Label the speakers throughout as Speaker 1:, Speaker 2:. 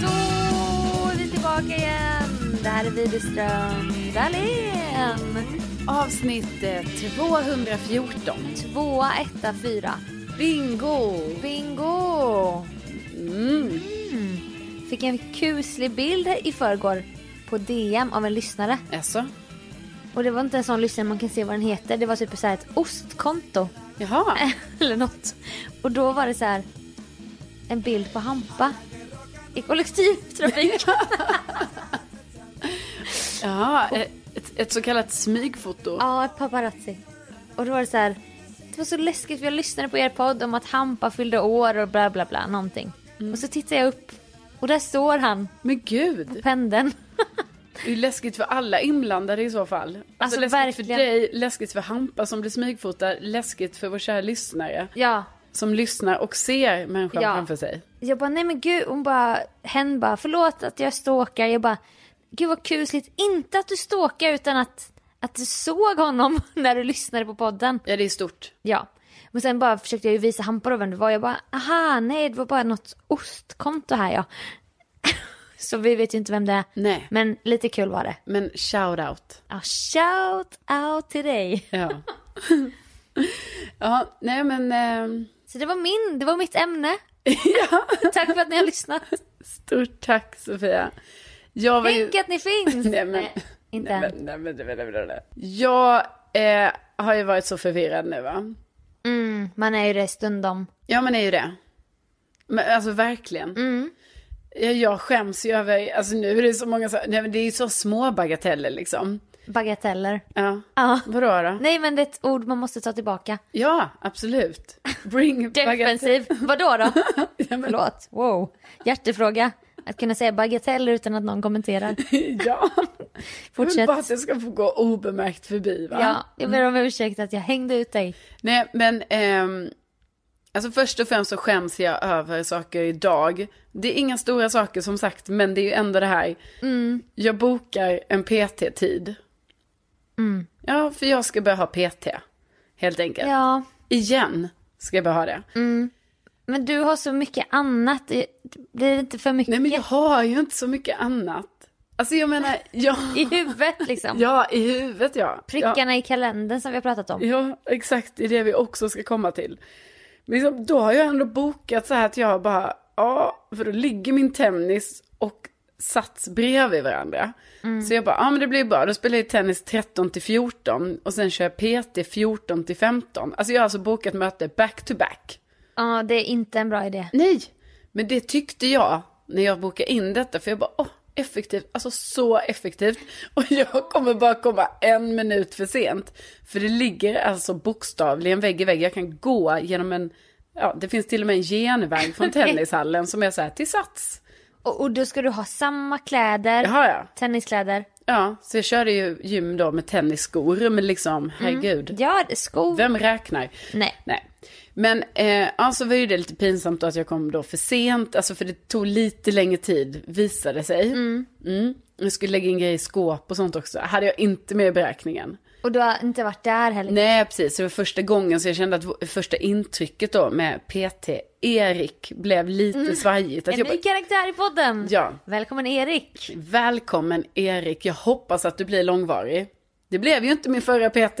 Speaker 1: Då är vi tillbaka igen. Det här är Widerström Dahlén.
Speaker 2: Avsnitt eh, 214.
Speaker 1: Tvåa, etta, fyra.
Speaker 2: Bingo!
Speaker 1: Bingo!
Speaker 2: Mm.
Speaker 1: Fick en kuslig bild i förrgår på DM av en lyssnare.
Speaker 2: Alltså,
Speaker 1: Och det var inte en sån lyssnare man kan se vad den heter. Det var typ så här ett ostkonto.
Speaker 2: Jaha.
Speaker 1: Eller något. Och då var det så här en bild på Hampa i kollektivtrafik.
Speaker 2: Jaha. eh, Ett, ett så kallat smygfoto.
Speaker 1: Ja, ett paparazzi. Och då var det så här. Det var så läskigt för jag lyssnade på er podd om att Hampa fyllde år och bla bla bla någonting. Och så tittar jag upp och där står han,
Speaker 2: Men gud.
Speaker 1: pendeln.
Speaker 2: Det är ju läskigt för alla inblandade i så fall. Alltså,
Speaker 1: Alltså,
Speaker 2: läskigt
Speaker 1: verkligen.
Speaker 2: för dig, läskigt för Hampa som blir smygfotad, läskigt för vår kära lyssnare.
Speaker 1: ja.
Speaker 2: Som lyssnar och ser människan
Speaker 1: Ja.
Speaker 2: framför sig.
Speaker 1: Jag bara, nej men gud, hon bara, hen bara, förlåt att jag stalkar. Jag bara, gud vad kusligt. Inte att du stalkar utan att, att du såg honom när du lyssnade på podden.
Speaker 2: Ja, det är stort.
Speaker 1: Ja. Men sen bara försökte jag ju visa Hampa då vem det var. Jag bara, aha, nej det var bara något ostkonto här ja. Så vi vet ju inte vem det är.
Speaker 2: Nej.
Speaker 1: Men lite kul var det.
Speaker 2: Men shout out.
Speaker 1: Ja, shout out till dig.
Speaker 2: Ja. ja, nej men ehm,
Speaker 1: Så det var min, det var mitt ämne. Tack för att ni har lyssnat.
Speaker 2: stort tack Sofia. Jag var ju...
Speaker 1: Tänk att ni finns.
Speaker 2: Nej, men-
Speaker 1: inte
Speaker 2: Nej,
Speaker 1: än.
Speaker 2: men, nej, men, nej, men, nej, men, nej. Jag eh, har ju varit så förvirrad nu va?
Speaker 1: Mm, man är ju det stundom.
Speaker 2: Ja men är ju det. Men, alltså verkligen.
Speaker 1: Mm.
Speaker 2: Jag, jag skäms ju över, alltså nu är det så många, så, nej men det är ju så små bagateller liksom.
Speaker 1: Bagateller.
Speaker 2: Ja.
Speaker 1: Ja.
Speaker 2: Vadå då?
Speaker 1: Nej men det är ett ord man måste ta tillbaka.
Speaker 2: Ja, absolut. Bring bagatell.
Speaker 1: Defensiv. Vadå då?
Speaker 2: Ja, men,
Speaker 1: Förlåt. Wow. Hjärtefråga. Att kunna säga bagateller utan att någon kommenterar.
Speaker 2: ja. Jag vill
Speaker 1: Fortsätt.
Speaker 2: bara att jag ska få gå obemärkt förbi va?
Speaker 1: Ja, jag ber om ursäkt att jag hängde ut dig.
Speaker 2: Nej, men ehm, alltså först och främst så skäms jag över saker idag. Det är inga stora saker som sagt, men det är ju ändå det här. Jag bokar en PT-tid. Ja, för jag ska börja ha PT, helt enkelt.
Speaker 1: Ja,
Speaker 2: Igen ska jag börja ha det.
Speaker 1: men du har så mycket annat. Det Blir det inte för mycket
Speaker 2: Nej, men jag har ju inte så mycket annat. Alltså jag menar, jag...
Speaker 1: i huvudet liksom?
Speaker 2: Ja, i huvudet ja. ja.
Speaker 1: Prickarna i kalendern som vi har pratat om.
Speaker 2: Ja, exakt. Det är det vi också ska komma till. Men Liksom, då har jag ändå bokat så här att jag bara, ja, för då ligger min tennis och sats bredvid varandra. Så jag bara, ja ah, men det blir bra. Då spelar jag tennis 13 till 14 och sen kör jag PT 14 till 15. Alltså jag har alltså bokat möte back to back.
Speaker 1: Ja, det är inte en bra idé.
Speaker 2: Nej, men det tyckte jag när jag bokade in detta. För jag bara, åh, effektivt, alltså så effektivt. Och jag kommer bara komma en minut för sent. För det ligger alltså bokstavligen vägg i vägg. Jag kan gå genom en, ja det finns till och med en genväg från tennishallen som är så här till sats.
Speaker 1: Och, och då ska du ha samma kläder,
Speaker 2: Det har jag.
Speaker 1: tenniskläder.
Speaker 2: Ja, så jag körde ju gym då med tennisskor, men liksom, herregud.
Speaker 1: Ja, det- skor.
Speaker 2: Vem räknar?
Speaker 1: Nej.
Speaker 2: Nej. Men eh, alltså var ju det lite pinsamt då att jag kom då för sent, alltså för det tog lite längre tid visade sig. Mm. Jag skulle lägga in grejer i skåp och sånt också, hade jag inte med i beräkningen.
Speaker 1: Och du har inte varit där heller.
Speaker 2: Nej precis, det var första gången så jag kände att v- första intrycket då med PT Erik blev lite svajigt. Att
Speaker 1: En
Speaker 2: jag
Speaker 1: ny
Speaker 2: bara,
Speaker 1: karaktär i podden!
Speaker 2: Ja.
Speaker 1: Välkommen Erik!
Speaker 2: Välkommen Erik, jag hoppas att du blir långvarig. Det blev ju inte min förra PT.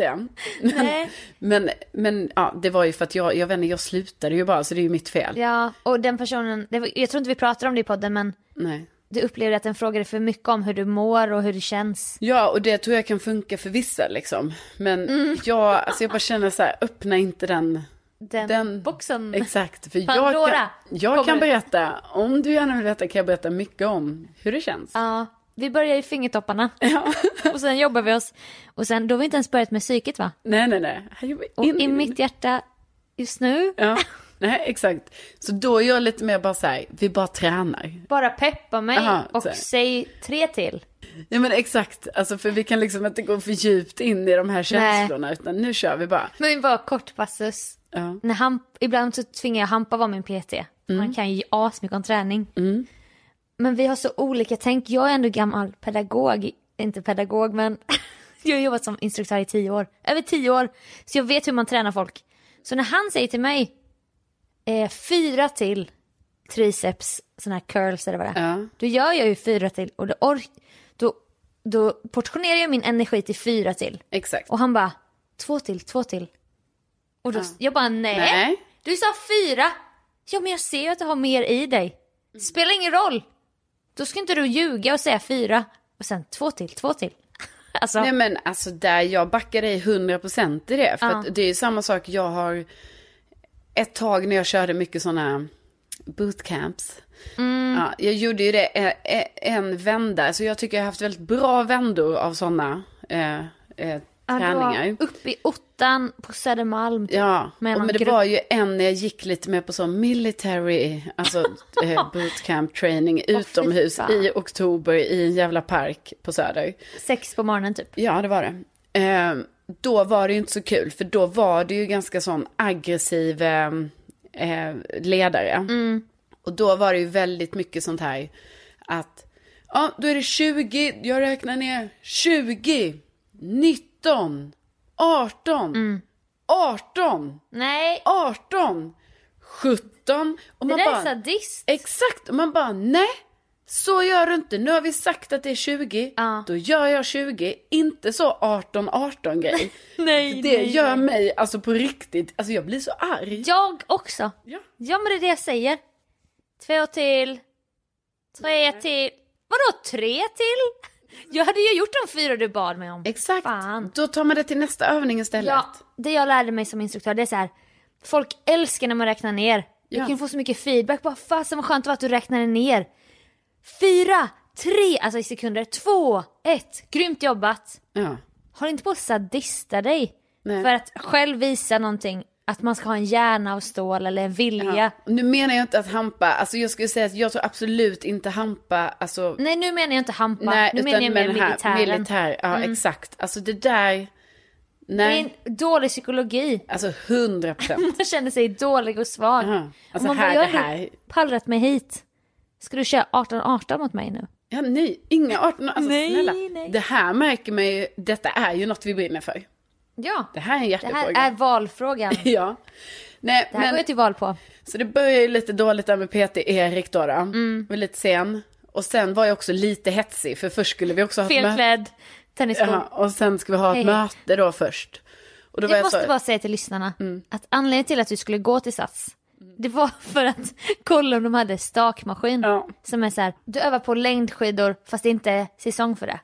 Speaker 1: Nej.
Speaker 2: Men, men ja, det var ju för att jag, jag vet inte, jag slutade ju bara så det är ju mitt fel.
Speaker 1: Ja, och den personen, det var, jag tror inte vi pratar om det i podden men
Speaker 2: Nej.
Speaker 1: du upplevde att den frågade för mycket om hur du mår och hur det känns.
Speaker 2: Ja, och det tror jag kan funka för vissa liksom. Men
Speaker 1: Mm.
Speaker 2: jag, alltså jag bara känner så här, öppna inte den.
Speaker 1: Den,
Speaker 2: Den-
Speaker 1: boxen.
Speaker 2: Exakt, för jag
Speaker 1: Pandora
Speaker 2: kan, jag
Speaker 1: kommer.
Speaker 2: kan berätta, om du gärna vill veta kan jag berätta mycket om hur det känns.
Speaker 1: Ja, vi börjar i fingertopparna. och sen jobbar vi oss. Och sen, då har vi inte ens börjat med psyket va?
Speaker 2: Nej, nej, nej. Här jobbar jag
Speaker 1: Och
Speaker 2: in
Speaker 1: i mitt hjärta just nu,
Speaker 2: Ja, nej, exakt. Så då är jag lite mer bara så här, vi bara tränar.
Speaker 1: bara peppa mig
Speaker 2: Aha,
Speaker 1: och
Speaker 2: så här.
Speaker 1: säg tre till.
Speaker 2: Ja men exakt, alltså för vi kan liksom inte gå för djupt in i de här känslorna utan nu kör vi bara.
Speaker 1: Men bara kort passus.
Speaker 2: Ja.
Speaker 1: När han, ibland så tvingar jag Hampa vara min PT.
Speaker 2: Mm.
Speaker 1: Han kan ju asmycket om träning. Men vi har så olika tänk. Jag är ändå gammal pedagog. Inte pedagog men jag har jobbat som instruktör i tio år. Över tio år. Så jag vet hur man tränar folk. Så när han säger till mig eh, fyra till triceps, sådana här curls eller vad det är.
Speaker 2: Ja.
Speaker 1: Då gör jag ju fyra till och då, ork, då, då portionerar jag min energi till fyra till.
Speaker 2: Exakt.
Speaker 1: Och han bara, två till, två till. Och då, jag bara, nej.
Speaker 2: Nej.
Speaker 1: Du sa fyra. Ja men jag ser ju att du har mer i dig.
Speaker 2: Mm.
Speaker 1: Spelar ingen roll. Då ska inte du ljuga och säga fyra. Och sen två till, två till. Alltså,
Speaker 2: Nej men alltså där jag backar dig 100% i det. För
Speaker 1: Ja.
Speaker 2: att det är ju samma sak jag har ett tag när jag körde mycket sådana bootcamps.
Speaker 1: Mm.
Speaker 2: Ja, jag gjorde ju det eh, eh, en vända, så jag tycker jag har haft väldigt bra vändor av sådana eh, eh,
Speaker 1: ja, det var
Speaker 2: träningar.
Speaker 1: Uppe i ottan på Södermalm.
Speaker 2: Ja, och,
Speaker 1: Med någon
Speaker 2: men det
Speaker 1: grupp.
Speaker 2: var ju en när jag gick lite mer på sån military, alltså eh, bootcamp training utomhus
Speaker 1: fan.
Speaker 2: i oktober i en jävla park på Söder.
Speaker 1: Sex på morgonen typ.
Speaker 2: Ja, det var det. Eh, då var det ju inte så kul, för då var det ju ganska sån aggressiv eh, eh, ledare.
Speaker 1: Mm.
Speaker 2: Och då var det ju väldigt mycket sånt här att, ja, då är det 20, jag räknar ner 20, 19, 18,
Speaker 1: Mm.
Speaker 2: 18,
Speaker 1: Nej,
Speaker 2: 18, 17. Och
Speaker 1: det
Speaker 2: man
Speaker 1: där
Speaker 2: bara,
Speaker 1: är sadist.
Speaker 2: Exakt, och man bara nej. Så gör du inte, nu har vi sagt att det är 20,
Speaker 1: Ja.
Speaker 2: då gör jag 20, inte så 18-18 grej.
Speaker 1: Nej,
Speaker 2: det gör mig, alltså på riktigt, alltså jag blir så arg.
Speaker 1: Jag också.
Speaker 2: Ja.
Speaker 1: Ja men det är det jag säger. Två till. Tre till. Vadå tre till? Jag hade ju gjort de fyra du bad mig om.
Speaker 2: Exakt,
Speaker 1: Fan.
Speaker 2: då tar man det till nästa övning istället.
Speaker 1: Ja, det jag lärde mig som instruktör det är så här. Folk älskar när man räknar ner. Du
Speaker 2: Ja.
Speaker 1: kan få så mycket feedback. Bara fasen vad skönt det var att du räknade ner. Fyra, tre, alltså i sekunder. Två, ett. Grymt jobbat.
Speaker 2: Ja.
Speaker 1: Håll inte på att sadista dig.
Speaker 2: Nej.
Speaker 1: För att själv visa någonting. Att man ska ha en hjärna av stål eller en vilja.
Speaker 2: Ja. Nu menar jag inte att Hampa, alltså jag skulle säga att jag tror absolut inte Hampa, alltså
Speaker 1: Nej nu menar jag inte hampa, Mm, nu menar jag mer
Speaker 2: med den här
Speaker 1: militären. Mm.
Speaker 2: militär, ja exakt, alltså det där,
Speaker 1: Det
Speaker 2: nej,
Speaker 1: är en dålig psykologi.
Speaker 2: alltså 100 procent.
Speaker 1: Man känner sig dålig och svag.
Speaker 2: Ja. Alltså
Speaker 1: och man bara,
Speaker 2: här,
Speaker 1: jag
Speaker 2: det
Speaker 1: har
Speaker 2: här.
Speaker 1: ändå pallrat mig hit. Ska du köra 18-18 mot mig nu?
Speaker 2: Ja, nej, inga 18 alltså,
Speaker 1: Nej,
Speaker 2: snälla.
Speaker 1: nej.
Speaker 2: Det här märker man ju, detta är ju något vi brinner för.
Speaker 1: Ja,
Speaker 2: Det här är en
Speaker 1: det här
Speaker 2: hjärtefråga.
Speaker 1: är valfrågan.
Speaker 2: Ja. Nej,
Speaker 1: Det här går
Speaker 2: men,
Speaker 1: jag till val på.
Speaker 2: Så det började ju lite dåligt där med PT Erik då. då.
Speaker 1: Mm.
Speaker 2: Var lite sen. Och sen var jag också lite hetsig, för först skulle vi också ha ett möte.
Speaker 1: Felklädd, tennisskor.
Speaker 2: Ja, och sen ska vi ha ett
Speaker 1: Hej.
Speaker 2: möte då först. Och då var
Speaker 1: Jag
Speaker 2: jag Mm.
Speaker 1: måste
Speaker 2: så, Mm.
Speaker 1: bara säga till lyssnarna att anledningen till att du skulle gå till SAS Det var för att kolla om de hade stakmaskin.
Speaker 2: Ja.
Speaker 1: Som är så här, du övar på längdskidor fast det är inte säsong för det.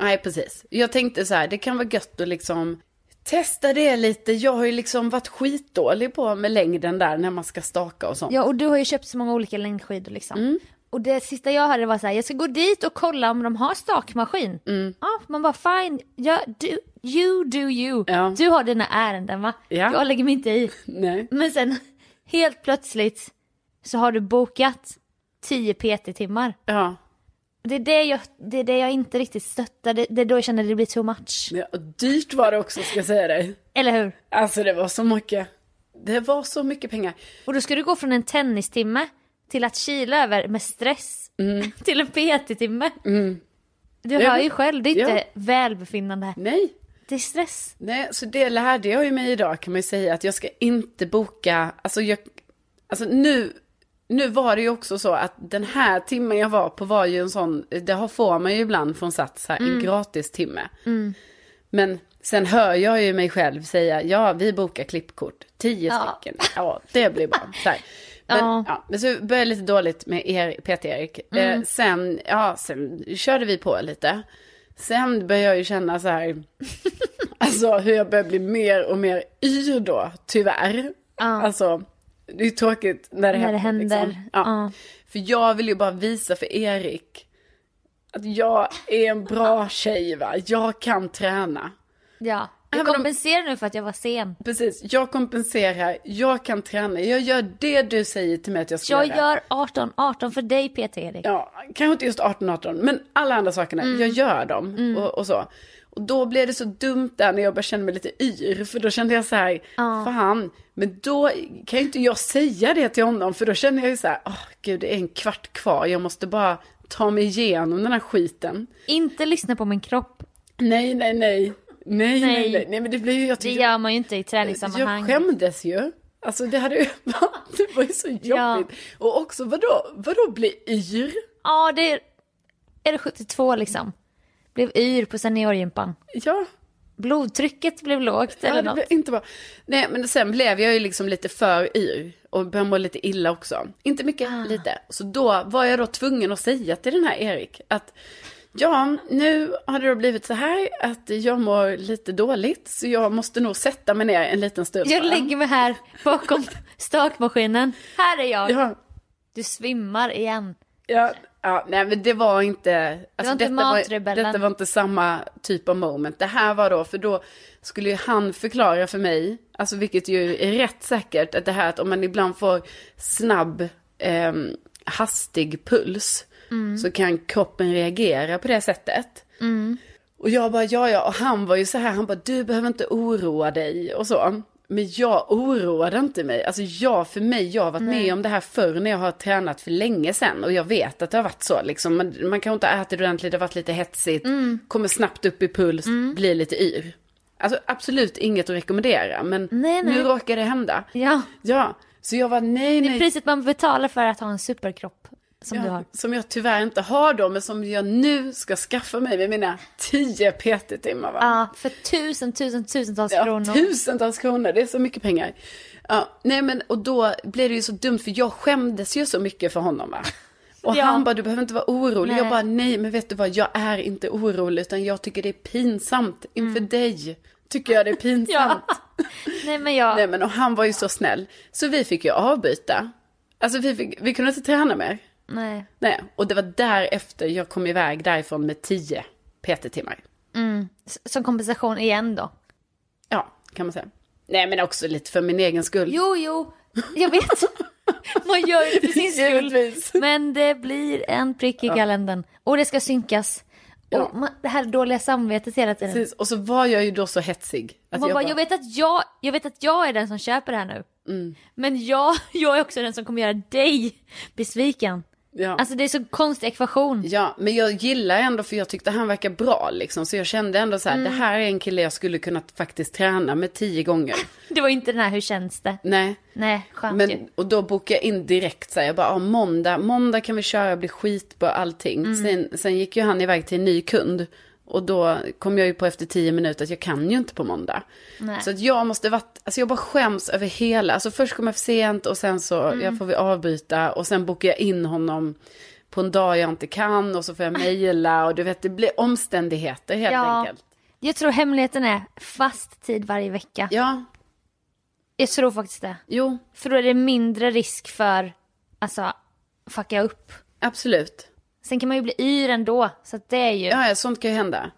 Speaker 2: Nej, precis. Jag tänkte så här, det kan vara gött att liksom testa det lite. Jag har ju liksom varit skitdålig på med längden där när man ska staka och sånt.
Speaker 1: Ja och du har ju köpt så många olika längdskidor liksom.
Speaker 2: Mm.
Speaker 1: Och det sista jag hade var så här, jag ska gå dit och kolla om de har stakmaskin.
Speaker 2: Mm.
Speaker 1: Ja, man bara fine, ja, du, you do you.
Speaker 2: Ja.
Speaker 1: Du har dina ärenden va?
Speaker 2: Ja.
Speaker 1: Jag lägger mig inte i.
Speaker 2: Nej.
Speaker 1: Men sen helt plötsligt så har du bokat 10 PT-timmar.
Speaker 2: Ja.
Speaker 1: Det är det, jag, det är det jag inte riktigt stöttar, det, det är då jag känner att det blir too much.
Speaker 2: ja. och Dyrt var det också, ska jag säga dig.
Speaker 1: Eller hur?
Speaker 2: Alltså det var så mycket. Det var så mycket pengar.
Speaker 1: Och då ska du gå från en tennistimme till att kila över med stress till en PT-timme. Du
Speaker 2: Mm. Ja,
Speaker 1: hör ju
Speaker 2: men-
Speaker 1: själv, det är inte
Speaker 2: ja.
Speaker 1: välbefinnande.
Speaker 2: Nej.
Speaker 1: Det är stress.
Speaker 2: Nej, så det lärde jag ju mig idag kan man ju säga att jag ska inte boka, alltså jag, alltså nu, nu var det ju också så att den här timmen jag var på var ju en sån, det har får man ju ibland från Sats här,
Speaker 1: Mm.
Speaker 2: en gratis timme. Men sen hör jag ju mig själv säga, ja vi bokar klippkort, tio
Speaker 1: Ja.
Speaker 2: stycken, ja det blir bra. Så här. Men,
Speaker 1: Ja. Mm.
Speaker 2: ja. men så började lite dåligt med er, Peter-Erik. Eh, sen, ja, sen körde vi på lite. Sen började jag ju känna så här, Alltså hur jag börjar bli mer och mer yr då, tyvärr. Alltså, det är tråkigt när det
Speaker 1: När det
Speaker 2: händer.
Speaker 1: händer,
Speaker 2: Liksom. Ja.
Speaker 1: ja.
Speaker 2: För jag vill ju bara visa för Erik att jag är en bra tjej va, jag kan träna.
Speaker 1: Ja.
Speaker 2: Ja,
Speaker 1: Jag
Speaker 2: men de-
Speaker 1: kompenserar nu för att jag var sen.
Speaker 2: Precis, jag kompenserar, jag kan träna, jag gör det du säger till mig att jag ska
Speaker 1: Jag
Speaker 2: göra.
Speaker 1: gör 18, 18 för dig PT-Erik.
Speaker 2: Ja, kanske inte just 18-18, men alla andra sakerna,
Speaker 1: Mm.
Speaker 2: jag gör dem och, och så. Och då blev det så dumt där när jag började känna mig lite yr, för då kände jag så här, fan, men då kan ju inte jag säga det till honom, för då känner jag ju så här, åh gud, det är en kvart kvar, jag måste bara ta mig igenom den här skiten.
Speaker 1: Inte lyssna på min kropp.
Speaker 2: Nej, nej, nej, nej, nej,
Speaker 1: Nej.
Speaker 2: nej, nej, men det blir ju, jag
Speaker 1: Det
Speaker 2: tycker,
Speaker 1: gör man ju inte i
Speaker 2: jag
Speaker 1: träningssammanhang.
Speaker 2: skämdes ju. Alltså det hade ju, det var ju så jobbigt.
Speaker 1: Ja.
Speaker 2: Och också vadå, vadå bli yr?
Speaker 1: Ja, det är... Är det 72 liksom? Blev yr på seniorgympan.
Speaker 2: Ja,
Speaker 1: Blodtrycket blev lågt
Speaker 2: Ja,
Speaker 1: eller
Speaker 2: det
Speaker 1: något.
Speaker 2: blev inte bra. Nej, men sen blev jag ju liksom lite för yr och började må lite illa också. Inte mycket,
Speaker 1: Ah.
Speaker 2: lite. Så då var jag då tvungen att säga till den här Erik att ja, nu har det då blivit så här att jag mår lite dåligt så jag måste nog sätta mig ner en liten stund.
Speaker 1: Jag
Speaker 2: bara."
Speaker 1: lägger mig här bakom stakmaskinen. Här är jag.
Speaker 2: Ja,
Speaker 1: Du svimmar igen.
Speaker 2: ja, ja, nej men det var inte, alltså
Speaker 1: inte
Speaker 2: var,
Speaker 1: matrebellen.
Speaker 2: detta var inte samma typ av moment. Det här var då, för då skulle ju han förklara för mig, alltså vilket ju är rätt säkert, att det här att om man ibland får snabb, ehm, hastig puls, så kan kroppen reagera på det sättet. Och jag bara, ja ja, och han var ju så här, han bara, du behöver inte oroa dig och så. Men jag oroade inte mig. Alltså jag, för mig, jag har varit med om det här förr när jag har tränat för länge sedan. Och jag vet att det har varit så liksom. Man, man kan inte ha ätit ordentligt, det har varit lite hetsigt.
Speaker 1: Mm.
Speaker 2: Kommer snabbt upp i puls, blir lite yr. Alltså absolut inget att rekommendera, men
Speaker 1: Nej, nej.
Speaker 2: nu råkar det hända.
Speaker 1: Ja.
Speaker 2: Ja, så jag var nej,
Speaker 1: Det är
Speaker 2: nej.
Speaker 1: priset man betalar för att ha en superkropp som du
Speaker 2: Ja,
Speaker 1: har.
Speaker 2: Som jag tyvärr inte har då, men som jag nu ska skaffa mig med mina 10 PT-timmar. Va?
Speaker 1: Ja, för tusen, tusen, tusentals kronor.
Speaker 2: Ja, tusentals kronor, det är så mycket pengar. Ja, nej men och då blev det ju så dumt för jag skämdes ju så mycket för honom va. Och
Speaker 1: Ja.
Speaker 2: han bara, du behöver inte vara orolig.
Speaker 1: Nej.
Speaker 2: Jag bara, nej men vet du vad, jag är inte orolig utan jag tycker det är pinsamt inför
Speaker 1: Mm.
Speaker 2: dig. Tycker jag det är pinsamt.
Speaker 1: Nej men jag,
Speaker 2: Nej men och han var ju så snäll. Så vi fick ju avbyta. Alltså vi, fick, vi kunde inte träna mer.
Speaker 1: nej.
Speaker 2: Nej, och det var därefter jag kom iväg därifrån med 10 PT-timmar.
Speaker 1: S- Som kompensation igen
Speaker 2: Mm.
Speaker 1: då.
Speaker 2: Ja, kan man säga. Nej men också lite för min egen skull.
Speaker 1: Jo, jo, jag vet. Man gör det för sin skull.
Speaker 2: Givetvis.
Speaker 1: Men det blir en prick i kalendern. Och det ska synkas. Och
Speaker 2: Ja.
Speaker 1: man, det här dåliga samvetet hela tiden.
Speaker 2: Precis, och så var jag ju då så hetsig. Att
Speaker 1: Man bara, jag, vet att jag, jag vet att jag är den som köper det här nu.
Speaker 2: Mm.
Speaker 1: Men jag, jag är också den som kommer göra dig besviken.
Speaker 2: ja.
Speaker 1: Alltså det är så konstig ekvation.
Speaker 2: ja, men jag gillar ändå för jag tyckte han verkar bra liksom. Så jag kände ändå så här,
Speaker 1: Mm.
Speaker 2: det här är en kille jag skulle kunna faktiskt träna med tio gånger.
Speaker 1: Det var inte den här hur känns det?
Speaker 2: Nej.
Speaker 1: Nej, skönt ju.
Speaker 2: Men, och då bokade jag in direkt så här, jag bara, ah,
Speaker 1: Mm.
Speaker 2: måndag, måndag kan vi köra, bli skit på allting. Sen, sen gick ju han iväg till en ny kund. Och då kom jag ju på efter tio minuter att jag kan ju inte på måndag.
Speaker 1: Nej.
Speaker 2: Så att jag måste varit, alltså jag bara skäms över hela, alltså först kom jag för sent och sen så
Speaker 1: Mm.
Speaker 2: jag får vi avbryta och sen bokar jag in honom på en dag jag inte kan och så får jag mejla och du vet det blir omständigheter helt enkelt.
Speaker 1: Jag tror hemligheten är fast tid varje vecka.
Speaker 2: Ja,
Speaker 1: Jag tror faktiskt det.
Speaker 2: jo,
Speaker 1: För då är det mindre risk för, alltså, fucka upp.
Speaker 2: absolut.
Speaker 1: Sen kan man ju bli yr ändå, så att det är ju...
Speaker 2: Ja, ja, sånt kan ju hända.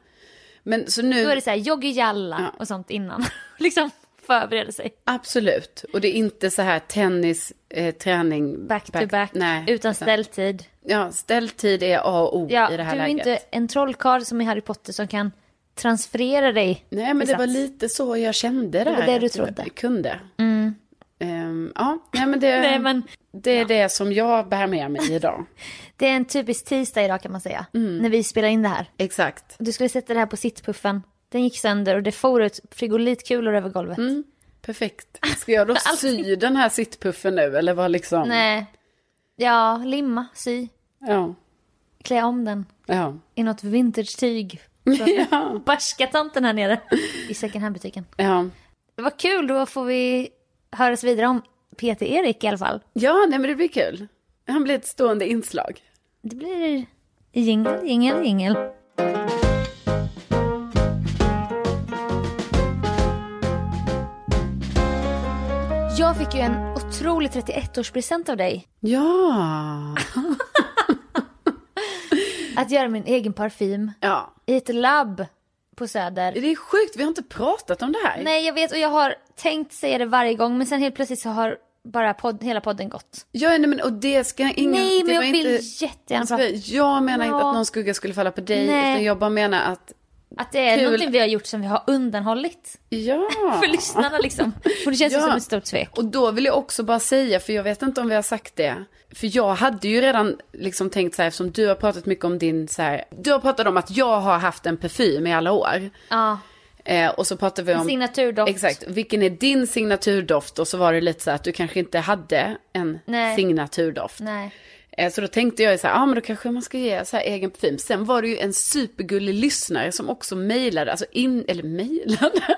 Speaker 2: Men så
Speaker 1: Då är
Speaker 2: nu,
Speaker 1: det så här, jogg i jalla
Speaker 2: Ja.
Speaker 1: och sånt innan. liksom förbereda sig.
Speaker 2: absolut. Och det är inte så här tennis, eh, träning.
Speaker 1: Back, to back,
Speaker 2: Nej.
Speaker 1: utan ställtid.
Speaker 2: Ja, ställtid är A och O
Speaker 1: Ja,
Speaker 2: i det här
Speaker 1: du är
Speaker 2: läget.
Speaker 1: inte en trollkarl som i Harry Potter som kan transferera dig.
Speaker 2: Nej, men
Speaker 1: till
Speaker 2: det var
Speaker 1: sats.
Speaker 2: lite så jag kände det.
Speaker 1: var
Speaker 2: här,
Speaker 1: det du
Speaker 2: att jag
Speaker 1: trodde. Mm.
Speaker 2: kunde. Ehm, ja, nej, men det,
Speaker 1: Nej, men-
Speaker 2: det är det som jag bär med mig idag.
Speaker 1: Det är en typisk tisdag idag kan man säga,
Speaker 2: Mm.
Speaker 1: när vi spelar in det här.
Speaker 2: Exakt.
Speaker 1: Du skulle sätta det här på sittpuffen. Den gick sönder och det for ut frigolitkulor över golvet.
Speaker 2: Perfekt. Ska jag då sy den här sittpuffen nu eller vad liksom?
Speaker 1: Nej. Ja, limma, sy,
Speaker 2: Ja.
Speaker 1: klä om den
Speaker 2: Ja.
Speaker 1: i något vintage-tyg. Från Barska tanten här nere i second hand-butiken.
Speaker 2: Ja.
Speaker 1: Vad kul, då får vi höras vidare om Peter Erik i alla fall.
Speaker 2: ja, nej men det blir kul. Han blir ett stående inslag.
Speaker 1: Det blir jingel, jingel, jingel. Jag fick ju en otrolig 31-årspresent av dig.
Speaker 2: Ja.
Speaker 1: Att göra min egen parfym
Speaker 2: Ja.
Speaker 1: i ett labb på Söder.
Speaker 2: Det är sjukt, vi har inte pratat om det här.
Speaker 1: Nej, jag vet och jag har tänkt säga det varje gång men sen helt plötsligt så har bara podd, hela podden gått.
Speaker 2: Ja, nej men och det ska ingen...
Speaker 1: Nej,
Speaker 2: Mm, det
Speaker 1: men jag
Speaker 2: var
Speaker 1: vill
Speaker 2: inte...
Speaker 1: jättegärna
Speaker 2: Alltså,
Speaker 1: prata.
Speaker 2: jag menar inte
Speaker 1: Ja.
Speaker 2: att någon skugga skulle falla på dig,
Speaker 1: Nej.
Speaker 2: utan jag bara menar att,
Speaker 1: Att det är
Speaker 2: Kul.
Speaker 1: någonting vi har gjort som vi har undanhållit
Speaker 2: ja.
Speaker 1: för lyssnarna liksom. Och det känns ju
Speaker 2: Ja.
Speaker 1: som ett stort svek.
Speaker 2: Och då vill jag också bara säga, för jag vet inte om vi har sagt det. För jag hade ju redan liksom tänkt så här, eftersom du har pratat mycket om din så här, du har pratat om att jag har haft en parfym i alla år.
Speaker 1: Ja.
Speaker 2: Eh, och så pratade vi om...
Speaker 1: signaturdoft.
Speaker 2: Exakt, vilken är din signaturdoft? Och så var det lite så här att du kanske inte hade en
Speaker 1: Nej.
Speaker 2: signaturdoft.
Speaker 1: Nej.
Speaker 2: Eh, Så då tänkte jag ju så här, ja ah, men då kanske man ska ge så här egen parfym. Sen var det ju en supergullig lyssnare som också mejlade, alltså in, eller mejlade.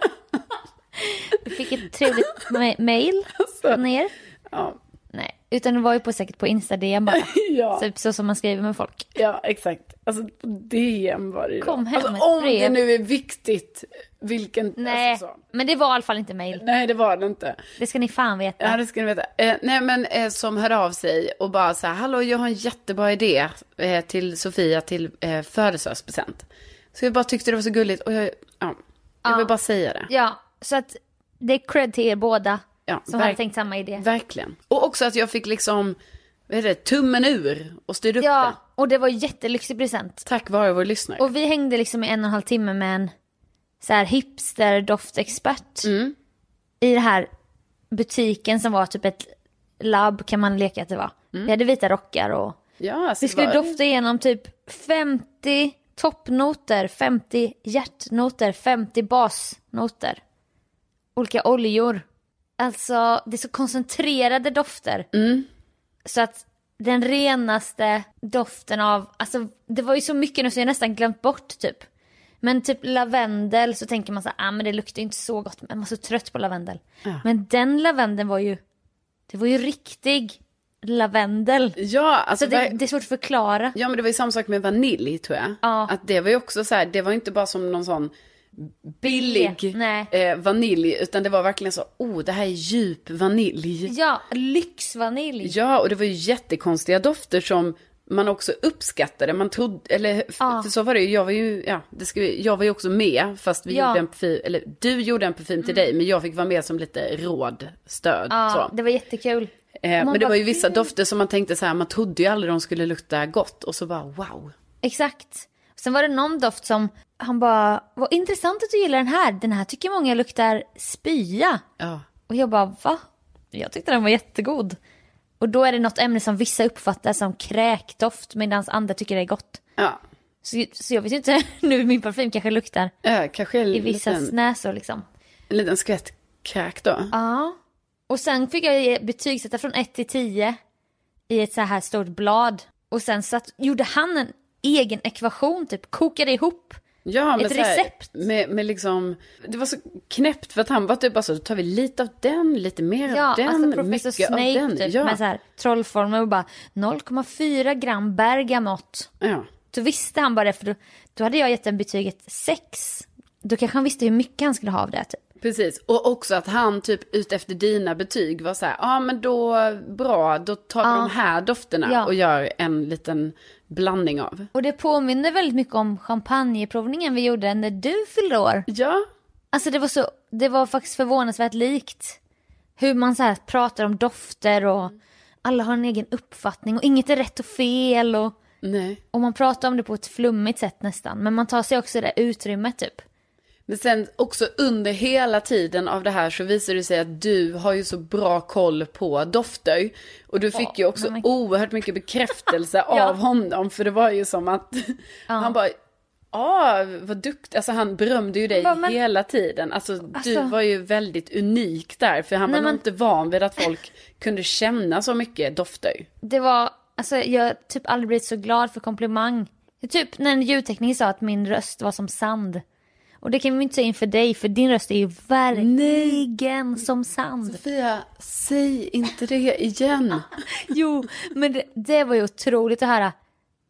Speaker 1: Vi fick ett trevligt ma- mail från er.
Speaker 2: Alltså. Ja.
Speaker 1: Nej, utan det var ju på, säkert på Insta-DM bara.
Speaker 2: Ja.
Speaker 1: Typ så som man skriver med folk.
Speaker 2: Ja, exakt. Alltså på DM var det ju då.
Speaker 1: Kom hem
Speaker 2: alltså,
Speaker 1: ett
Speaker 2: om
Speaker 1: brev.
Speaker 2: det nu är viktigt, vilken...
Speaker 1: Nej,
Speaker 2: Alltså, så.
Speaker 1: men det var i alla fall inte mail.
Speaker 2: Nej, det var det inte.
Speaker 1: Det ska ni fan veta.
Speaker 2: Ja, det ska ni veta. Eh, nej, men eh, som hör av sig och bara så här, hallå, jag har en jättebra idé eh, till Sofia till eh, födelsedagspresent. Så jag bara tyckte det var så gulligt och jag, ja, jag vill bara säga det.
Speaker 1: Ja, så att det är cred till er båda
Speaker 2: Ja,
Speaker 1: som
Speaker 2: verk-
Speaker 1: hade tänkt samma idé.
Speaker 2: Verkligen. Och också att jag fick liksom, vad heter det, tummen ur och styrde upp
Speaker 1: Ja,
Speaker 2: det.
Speaker 1: och det var en jättelyxig present.
Speaker 2: Tack vare vår lyssnare.
Speaker 1: Och vi hängde liksom i en och en halv timme med en så här hipster-doftexpert.
Speaker 2: Mm.
Speaker 1: I den här butiken som var typ ett labb kan man leka att det var.
Speaker 2: Mm.
Speaker 1: Vi hade vita rockar och
Speaker 2: ja, så
Speaker 1: Vi skulle
Speaker 2: var-
Speaker 1: dofta igenom typ 50 toppnoter, 50 hjärtnoter, 50 basnoter. Olika oljor. Alltså, det är så koncentrerade dofter. Så att den renaste doften av, alltså det var ju så mycket nu så jag nästan glömt bort typ. Men typ lavendel så tänker man så här, ah, men det luktar ju inte så gott, men man är så trött på lavendel. Men den lavendeln var ju, det var ju riktig lavendel.
Speaker 2: Ja, alltså,
Speaker 1: Alltså det,
Speaker 2: ver-
Speaker 1: det är svårt att förklara.
Speaker 2: Ja men det var ju samma sak med vanilj tror jag.
Speaker 1: Ja.
Speaker 2: Att det var ju också så här, det var ju inte bara som någon sån billig
Speaker 1: Nej.
Speaker 2: eh, vanilj utan det var verkligen så, oh det här är djup vanilj.
Speaker 1: Ja, lyxvanilj.
Speaker 2: Ja och det var ju jättekonstiga dofter som man också uppskattade, man trodde, eller f-
Speaker 1: Ja.
Speaker 2: för så var det ju, jag var ju, ja, det ska, vi- jag var ju också med fast vi
Speaker 1: Ja. Mm.
Speaker 2: gjorde en parfym, eller du gjorde en parfym till dig men jag fick vara med som lite råd, stöd
Speaker 1: Ja,
Speaker 2: så.
Speaker 1: det var jättekul.
Speaker 2: eh,
Speaker 1: man
Speaker 2: men det
Speaker 1: bara,
Speaker 2: var ju vissa
Speaker 1: "Gud."
Speaker 2: dofter som man tänkte så här, man trodde ju aldrig de skulle lukta gott och så bara wow.
Speaker 1: Exakt. Sen var det någon doft som han bara, vad intressant att du gillar den här. Den här tycker många luktar spya.
Speaker 2: Ja.
Speaker 1: Och jag bara, va? Jag tyckte den var jättegod. Och då är det något ämne som vissa uppfattar som kräkdoft medan andra tycker det är gott.
Speaker 2: Ja.
Speaker 1: Så, så jag vet ju inte, nu min parfym kanske luktar
Speaker 2: Ja, kanske en
Speaker 1: i vissas
Speaker 2: liten,
Speaker 1: näsor liksom.
Speaker 2: en liten skvätt kräk då.
Speaker 1: Ja. Och sen fick jag ge- betygsätta från 1 till 10 i ett så här stort blad. Och sen satt, gjorde han en egen ekvation, typ kokade ihop
Speaker 2: Ja, men
Speaker 1: Ett
Speaker 2: så här,
Speaker 1: recept.
Speaker 2: Med, med liksom, det var så knäppt för att han var typ bara så, då tar vi lite av den, lite mer
Speaker 1: Ja,
Speaker 2: av den,
Speaker 1: alltså Professor
Speaker 2: mycket
Speaker 1: Snape
Speaker 2: av den.
Speaker 1: typ
Speaker 2: ja.
Speaker 1: med så här, trollformer och bara 0,4 gram bergamott.
Speaker 2: ja.
Speaker 1: Då visste han bara det för då, då hade jag gett den betyget 6. Då kanske han visste hur mycket han skulle ha av det typ.
Speaker 2: Precis, och också att han typ utefter dina betyg var så här, ja ah, men då bra, då tar vi de här dofterna
Speaker 1: Ja.
Speaker 2: och gör en liten blandning av.
Speaker 1: Och det påminner väldigt mycket om champagneprovningen vi gjorde när du fyllde år.
Speaker 2: Ja,
Speaker 1: Alltså det var så, det var faktiskt förvånansvärt likt. Hur man så här pratar om dofter och alla har en egen uppfattning och inget är rätt och fel och,
Speaker 2: nej.
Speaker 1: och man pratar om det på ett flummigt sätt nästan. Men man tar sig också det utrymmet typ.
Speaker 2: Men sen också under hela tiden av det här så visar det sig att du har ju så bra koll på dofter. Och du fick ju också
Speaker 1: men-
Speaker 2: oerhört mycket bekräftelse
Speaker 1: Ja.
Speaker 2: av honom. För det var ju som att han bara, ja vad duktig. Alltså han berömde ju dig
Speaker 1: bara, men-
Speaker 2: hela tiden. Alltså, du
Speaker 1: Alltså-
Speaker 2: var ju väldigt unik där. För han
Speaker 1: Nej,
Speaker 2: var nog
Speaker 1: men-
Speaker 2: inte van vid att folk kunde känna så mycket dofter.
Speaker 1: Det var, alltså jag har typ aldrig blivit så glad för komplimang. Det är Typ när en ljudtekniker sa att min röst var som sand. Och det kan vi ju inte säga inför dig för din röst är ju verkligen som sand.
Speaker 2: Sofia, säg inte det igen.
Speaker 1: Jo, men det, det var ju otroligt att höra.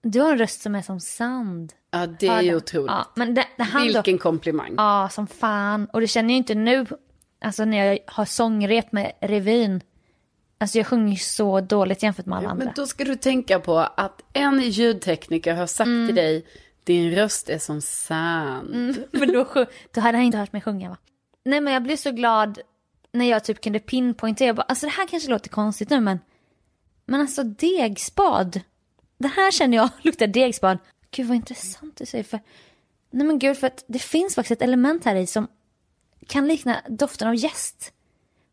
Speaker 1: Du har en röst som är som sand.
Speaker 2: Ja det är ju
Speaker 1: Hörde.
Speaker 2: otroligt.
Speaker 1: Ja, men det, det han då,
Speaker 2: Vilken komplimang.
Speaker 1: ja som fan. Och det känner jag inte nu, alltså när jag har sångrep med revyn. Alltså jag sjunger ju så dåligt jämfört med alla andra.
Speaker 2: Men då ska du tänka på att en ljudtekniker har sagt
Speaker 1: Mm.
Speaker 2: till dig din röst är som sand.
Speaker 1: Men då, sjö- då hade han inte hört mig sjunga va? Nej men jag blev så glad när jag typ kunde pinpointa. Jag bara, alltså det här kanske låter konstigt nu men. Men alltså degspad. Det här känner jag luktar degspad. Gud vad intressant du säger för. Nej men gud för att det finns faktiskt ett element här i som kan likna doften av gäst.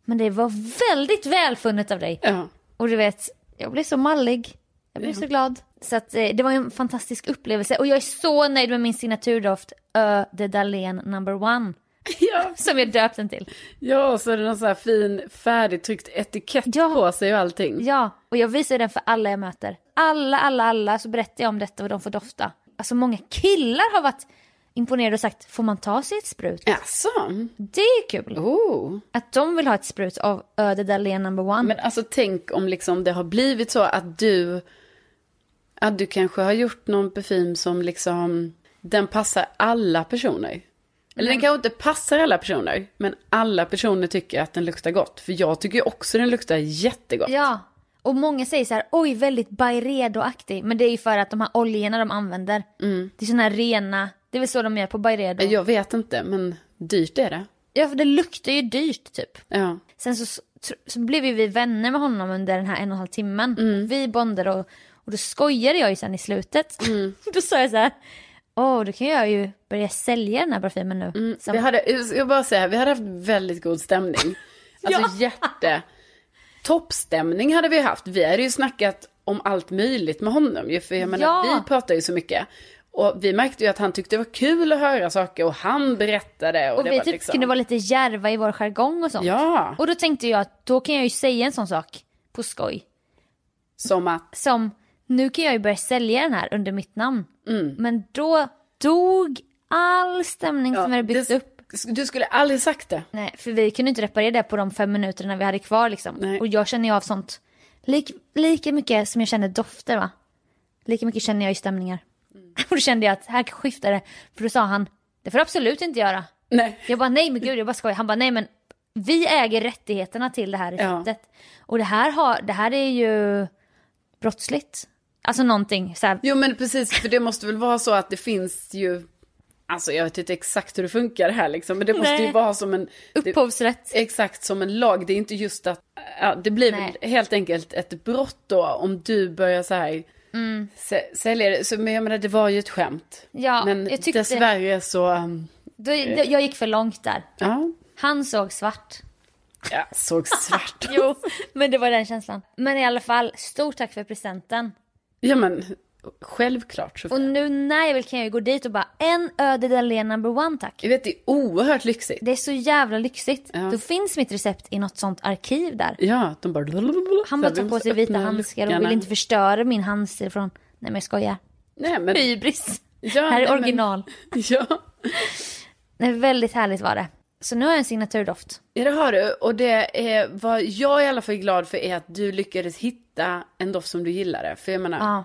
Speaker 1: Men det var väldigt välfunnet av dig.
Speaker 2: Ja.
Speaker 1: Och du vet, jag blev så mallig. Jag blev så glad. Så att, eh, det var ju en fantastisk upplevelse. Och jag är så nöjd med min signaturdoft Ö de Dahlén number one.
Speaker 2: Ja.
Speaker 1: Som jag döpt den till.
Speaker 2: ja, och så är det någon sån här fin färdigtryckt etikett
Speaker 1: Ja.
Speaker 2: på sig och allting.
Speaker 1: Ja, och jag visar den för alla jag möter. Alla, alla, alla så berättar jag om detta och de får dofta. Alltså många killar har varit imponerade och sagt, får man ta sig ett sprut?
Speaker 2: Jaså?
Speaker 1: Det är kul.
Speaker 2: Oh.
Speaker 1: Att de vill ha ett sprut av Ö de Dahlén number one.
Speaker 2: Men alltså tänk om liksom det har blivit så att du, att du kanske har gjort någon parfym som liksom, den passar alla personer. Eller den kanske inte passar alla personer, men alla personer tycker att den luktar gott. För jag tycker ju också den luktar jättegott.
Speaker 1: Ja, och många säger så här, oj väldigt Byredo-aktig. Men det är ju för att de här oljorna de använder,
Speaker 2: Mm.
Speaker 1: det är såna här rena, det är väl så de gör på Byredo.
Speaker 2: Jag vet inte, men dyrt är det.
Speaker 1: Ja, för det luktar ju dyrt typ.
Speaker 2: Ja.
Speaker 1: Sen så, tr- så blev ju vi vänner med honom under den här en och en halv timmen.
Speaker 2: Mm.
Speaker 1: Vi bondade och, och då skojade jag ju sen i slutet.
Speaker 2: Mm.
Speaker 1: då sa jag så här, åh då kan jag ju börja sälja den här parfymen nu. Som-
Speaker 2: Vi hade, jag ska bara säga, vi hade haft väldigt god stämning. Alltså jätte... Toppstämning hade vi haft. Vi hade ju snackat om allt möjligt med honom ju, för jag menar,
Speaker 1: Ja.
Speaker 2: vi pratar ju så mycket. Och vi märkte ju att han tyckte det var kul att höra saker och han berättade. Och,
Speaker 1: Och
Speaker 2: det
Speaker 1: vi
Speaker 2: var
Speaker 1: typ
Speaker 2: liksom...
Speaker 1: kunde vara lite järva i vår jargong och sånt.
Speaker 2: Ja,
Speaker 1: Och då tänkte jag att då kan jag ju säga en sån sak på skoj.
Speaker 2: som att...
Speaker 1: som nu kan jag ju börja sälja den här under mitt namn.
Speaker 2: Mm.
Speaker 1: Men då dog all stämning som hade byggts
Speaker 2: det-
Speaker 1: upp.
Speaker 2: Du skulle aldrig sagt det.
Speaker 1: Nej, för vi kunde inte reparera det på de fem minuterna vi hade kvar liksom.
Speaker 2: Nej.
Speaker 1: Och jag känner ju av sånt. Lik, lika mycket som jag känner dofter va? Lika mycket känner jag ju stämningar.
Speaker 2: Mm.
Speaker 1: Och då kände jag att här skiftar det. För då sa han, det får du absolut inte göra.
Speaker 2: Nej.
Speaker 1: Jag bara nej men gud jag bara skojar. Han bara nej men vi äger rättigheterna till det här receptet. Och det här, har, det här är ju brottsligt. Alltså någonting så här,
Speaker 2: Jo men precis, för det måste väl vara så att det finns ju... Alltså jag vet inte exakt hur det funkar här liksom, men det måste ju
Speaker 1: Nej.
Speaker 2: vara som en... det-
Speaker 1: upphovsrätt.
Speaker 2: Exakt som en lag, det är inte just att, ja, det blir väl
Speaker 1: Nej.
Speaker 2: helt enkelt ett brott då om du börjar så här sä- sälja det. Så, men jag menar det var ju ett skämt.
Speaker 1: Mm. Ja,
Speaker 2: men
Speaker 1: jag tyckte-
Speaker 2: dessvärre så, um,
Speaker 1: Då, då, jag gick för långt där.
Speaker 2: ja,
Speaker 1: Han såg svart.
Speaker 2: jag såg svart.
Speaker 1: Jo, men det var den känslan. Men i alla fall, stort tack för presenten.
Speaker 2: ja men självklart så.
Speaker 1: Och nu när jag vill kan jag ju gå dit och bara en öde Dahlén number one tack.
Speaker 2: Jag vet det är oerhört lyxigt.
Speaker 1: Det är så jävla lyxigt.
Speaker 2: Ja.
Speaker 1: Då finns mitt recept i något sånt arkiv där.
Speaker 2: Ja, de bara...
Speaker 1: Han bara tar på sig vita handskar och vill inte förstöra min handstil från... Nej men jag skojar.
Speaker 2: Nej men
Speaker 1: Hybris.
Speaker 2: Ja,
Speaker 1: här
Speaker 2: nej,
Speaker 1: är
Speaker 2: men-
Speaker 1: original.
Speaker 2: Ja.
Speaker 1: Nej, väldigt härligt var det. Så nu har jag en signaturdoft.
Speaker 2: Ja, det har du. Och det är, vad jag i alla fall är glad för är att du lyckades hitta en doft som du gillade. För jag menar,
Speaker 1: Ja.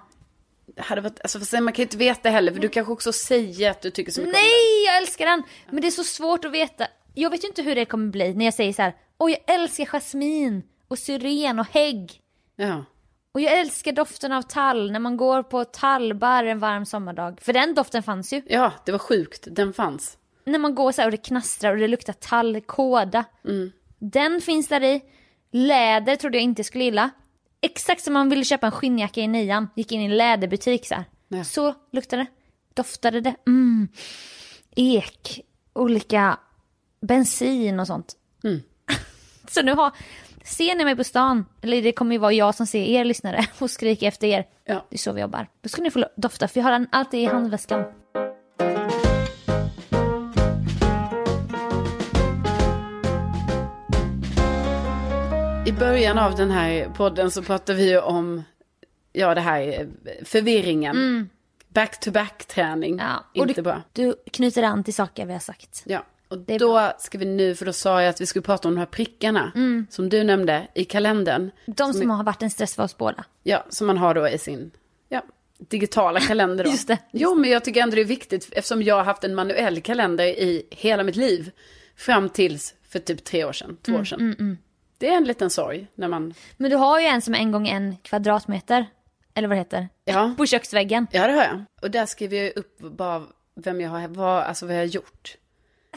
Speaker 2: det hade varit, alltså, fast man kan ju inte veta heller, för du kanske också säger att du tycker så mycket om
Speaker 1: Nej, jag älskar den! Men det är så svårt att veta. Jag vet ju inte hur det kommer bli när jag säger så här. Åh, jag älskar jasmin och syren och hägg.
Speaker 2: den. Ja.
Speaker 1: Och jag älskar doften av tall när man går på tallbar en varm sommardag. För den doften fanns ju.
Speaker 2: ja, det var sjukt. Den fanns.
Speaker 1: När man går så här och det knastrar och det luktar tall, kåda. Den finns där i. Läder trodde jag inte skulle gilla. Exakt som man ville köpa en skinnjacka i nian. Gick in i en läderbutik så här.
Speaker 2: Ja.
Speaker 1: Så luktade det. Doftade det. Mm. Ek. Olika bensin och sånt. så nu har... Ser ni mig på stan, eller det kommer ju vara jag som ser er lyssnare och skriker efter er.
Speaker 2: Ja.
Speaker 1: Det är så vi jobbar. Då ska ni få dofta, för jag har den alltid i handväskan.
Speaker 2: I början av den här podden så pratade vi ju om, ja det här eh, förvirringen. Back-to-back-träning.
Speaker 1: Mm. Ja, och
Speaker 2: Inte
Speaker 1: du,
Speaker 2: bra.
Speaker 1: Du knyter an till saker vi har sagt.
Speaker 2: Ja, och
Speaker 1: är
Speaker 2: då ska vi nu, för då sa jag att vi skulle prata om de här prickarna.
Speaker 1: Mm.
Speaker 2: Som du nämnde i kalendern.
Speaker 1: De som har varit en stress för oss båda.
Speaker 2: Ja, som man har då i sin ja, digitala kalender. Då.
Speaker 1: Just det, just
Speaker 2: Jo, men jag tycker ändå det är viktigt eftersom jag har haft en manuell kalender i hela mitt liv. Fram tills för typ tre år sedan,
Speaker 1: Mm,
Speaker 2: två år sedan. Det är en liten sorg när man...
Speaker 1: Men du har ju en som är en gång en kvadratmeter, eller vad det heter,
Speaker 2: Ja,
Speaker 1: på köksväggen.
Speaker 2: ja det har jag. Och där skriver jag upp bara vem jag har, vad, alltså vad jag har gjort.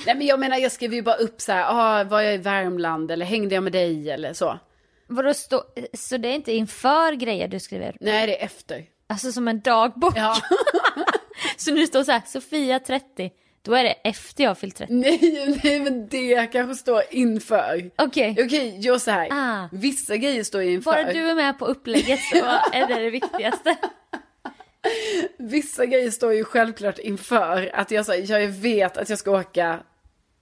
Speaker 2: Nej men jag menar jag skriver ju bara upp så här, ah, var jag i Värmland eller hängde jag med dig eller så.
Speaker 1: Vadå stå, så det är inte inför grejer du skriver?
Speaker 2: Nej det är efter.
Speaker 1: Alltså som en dagbok?
Speaker 2: Ja.
Speaker 1: Så nu står så här, Sofia 30, då är det efter jag har fyllt 30.
Speaker 2: nej, nej men det kanske står inför.
Speaker 1: Okej,
Speaker 2: Okej, gör så här.
Speaker 1: Ah.
Speaker 2: Vissa grejer står jag inför.
Speaker 1: bara du är med på upplägget så är det det viktigaste.
Speaker 2: Vissa grejer står ju självklart inför. Att jag, så här, jag vet att jag ska åka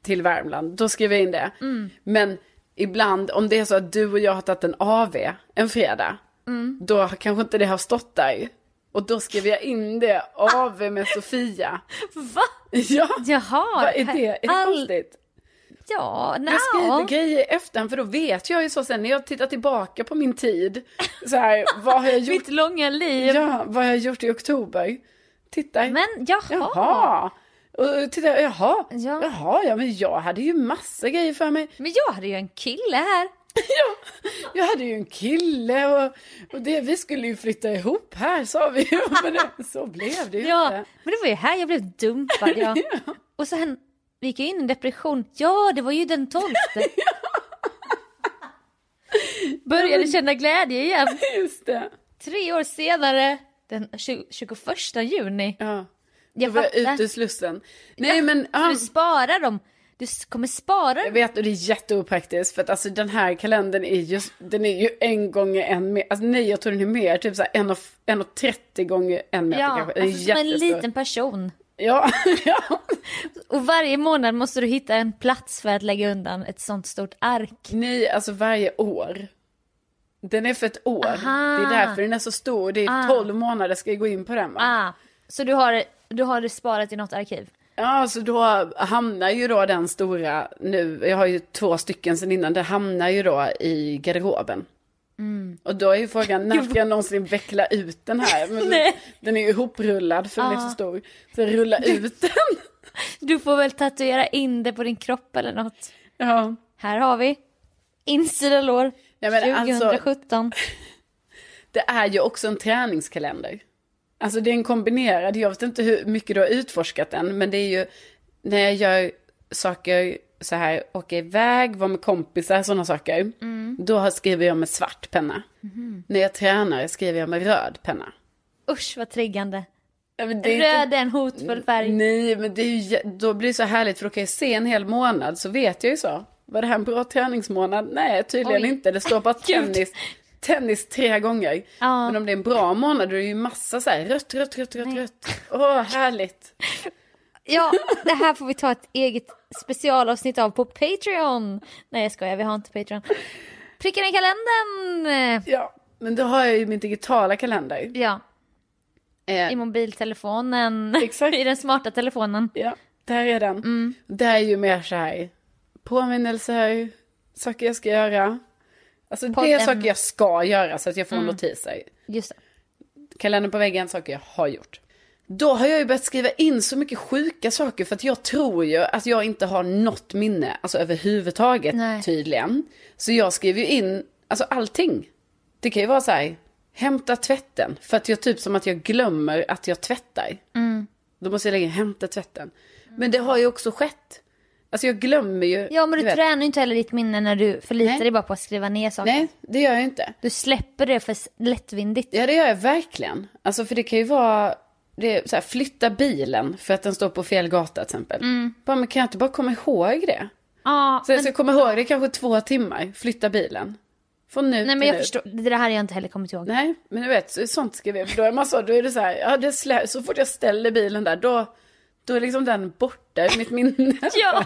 Speaker 2: till Värmland. Då skriver jag in det.
Speaker 1: Mm.
Speaker 2: Men ibland, om det är så att du och jag har tagit en AV en fredag.
Speaker 1: Mm.
Speaker 2: Då har- kanske inte det har stått där. Och då skriver jag in det. AV med Sofia.
Speaker 1: Va?
Speaker 2: Ja,
Speaker 1: Jaha.
Speaker 2: vad är det? Är det
Speaker 1: all-
Speaker 2: konstigt?
Speaker 1: Ja, nja.
Speaker 2: Jag skriver grejer efter för då vet jag ju så sen när jag tittar tillbaka på min tid. Så här, vad har jag gjort
Speaker 1: Mitt långa liv.
Speaker 2: Ja, vad har jag gjort i oktober? Titta.
Speaker 1: Men jaha.
Speaker 2: Jaha. Och eh, titta, jaha.
Speaker 1: Ja.
Speaker 2: Jaha, ja men jag hade ju massa grejer för mig.
Speaker 1: Men jag hade ju en kille här.
Speaker 2: Jag hade ju en kille och, och det, vi skulle ju flytta ihop här sa vi ju. Men det, så blev det ju
Speaker 1: Ja,
Speaker 2: inte.
Speaker 1: men det var ju här jag blev dumpad. Ja. Och sen vi gick jag in i en depression. Ja, det var ju den tolfte. Började känna glädje igen.
Speaker 2: Just det.
Speaker 1: Tre år senare, den 20, 21 juni.
Speaker 2: Ja.
Speaker 1: Jag
Speaker 2: Jag var jag ute
Speaker 1: fattar.
Speaker 2: i Slussen. Nej men, ja,
Speaker 1: Du sparar dem. Du s- kommer spara
Speaker 2: jag
Speaker 1: dem.
Speaker 2: vet och det är jätteopraktiskt för att alltså den här kalendern är ju, den är ju en gånger en meter, alltså nej jag tror den är mer, typ såhär en och, en och 30 gånger en meter
Speaker 1: Ja,
Speaker 2: kanske. Den är
Speaker 1: alltså, som en
Speaker 2: jättestor.
Speaker 1: liten person.
Speaker 2: Ja, ja.
Speaker 1: Och varje månad måste du hitta en plats för att lägga undan ett sånt stort ark.
Speaker 2: Nej, alltså varje år. Den är för ett år.
Speaker 1: Aha.
Speaker 2: Det är därför den är så stor. Det är 12 månader ska jag gå in på den va?
Speaker 1: Ah, så du har, du har det sparat i något arkiv?
Speaker 2: Ja, så då hamnar ju då den stora nu. Jag har ju två stycken sedan innan. Det hamnar ju då i garderoben.
Speaker 1: Mm.
Speaker 2: Och då är ju frågan, när ska jag någonsin veckla ut den här? Men
Speaker 1: Nej. Ah.
Speaker 2: Den är ju ihoprullad för den är så stor. Så rulla ut den.
Speaker 1: Du får väl tatuera in det på din kropp eller något.
Speaker 2: Ja.
Speaker 1: Här har vi. Insida lår.
Speaker 2: Ja, men alltså-
Speaker 1: 2017.
Speaker 2: det är ju också en träningskalender. Alltså det är en kombinerad, jag vet inte hur mycket du har utforskat den, men det är ju när jag gör saker så här, åka iväg, vara med kompisar, sådana saker. Då har- skriver jag med svart penna. När jag tränar skriver jag med röd penna.
Speaker 1: Usch vad triggande.
Speaker 2: Ja, men det är inte- Mm.
Speaker 1: Röd är en hotfull färg.
Speaker 2: Nej, men det är ju, jä- då blir det så härligt för då kan jag se en hel månad så vet jag ju så. Var det här en bra träningsmånad? Nej, tydligen
Speaker 1: Oj.
Speaker 2: inte. Det står bara
Speaker 1: Gud.
Speaker 2: tennis, tennis tre gånger.
Speaker 1: Ja.
Speaker 2: Men om det är en bra månad då är det ju massa så här rött, rött, rött, rött, rött. Åh, härligt.
Speaker 1: Ja, det här får vi ta ett eget specialavsnitt av på Patreon. Nej jag skojar, vi har inte Patreon. Prickarna i kalendern!
Speaker 2: Ja, men då har jag ju min digitala kalender.
Speaker 1: Ja,
Speaker 2: Eh,
Speaker 1: I mobiltelefonen,
Speaker 2: Exakt.
Speaker 1: i den smarta telefonen.
Speaker 2: Ja, där är den.
Speaker 1: Mm.
Speaker 2: Det här är ju mer så här påminnelser, saker jag ska göra. Alltså det är
Speaker 1: Podden. Mm.
Speaker 2: saker jag ska göra så att jag får notiser.
Speaker 1: Just det.
Speaker 2: Kalendern på väggen, saker jag har gjort. Då har jag ju börjat skriva in så mycket sjuka saker för att jag tror ju att jag inte har något minne, alltså överhuvudtaget
Speaker 1: Nej.
Speaker 2: tydligen. Så jag skriver ju in, alltså allting. Det kan ju vara så här, hämta tvätten, för att jag typ som att jag glömmer att jag tvättar.
Speaker 1: Mm.
Speaker 2: Då måste jag lägga in, hämta tvätten. Men det har ju också skett. Alltså jag glömmer ju.
Speaker 1: Ja men du,
Speaker 2: du vet.
Speaker 1: tränar ju inte heller ditt minne när du förlitar
Speaker 2: Nej.
Speaker 1: dig bara på att skriva ner saker.
Speaker 2: Nej, det gör jag inte.
Speaker 1: Du släpper det för s- lättvindigt.
Speaker 2: Ja, det gör jag verkligen. Alltså, för det kan ju vara... Det är så här, flytta bilen för att den står på fel gata till exempel.
Speaker 1: Mm.
Speaker 2: Bara, men kan jag inte bara komma ihåg det?
Speaker 1: Ja,
Speaker 2: Så jag ska komma ihåg det kanske två timmar, flytta bilen. Från
Speaker 1: nej
Speaker 2: nu
Speaker 1: men
Speaker 2: till
Speaker 1: jag
Speaker 2: nu.
Speaker 1: förstår, det där har jag inte heller kommit ihåg.
Speaker 2: Nej, men du vet, så- sånt ska vi... för Då är man så, då är det så här, ja, det slä, så fort jag ställer bilen där, då, då är liksom den borta ur mitt minne.
Speaker 1: Ja,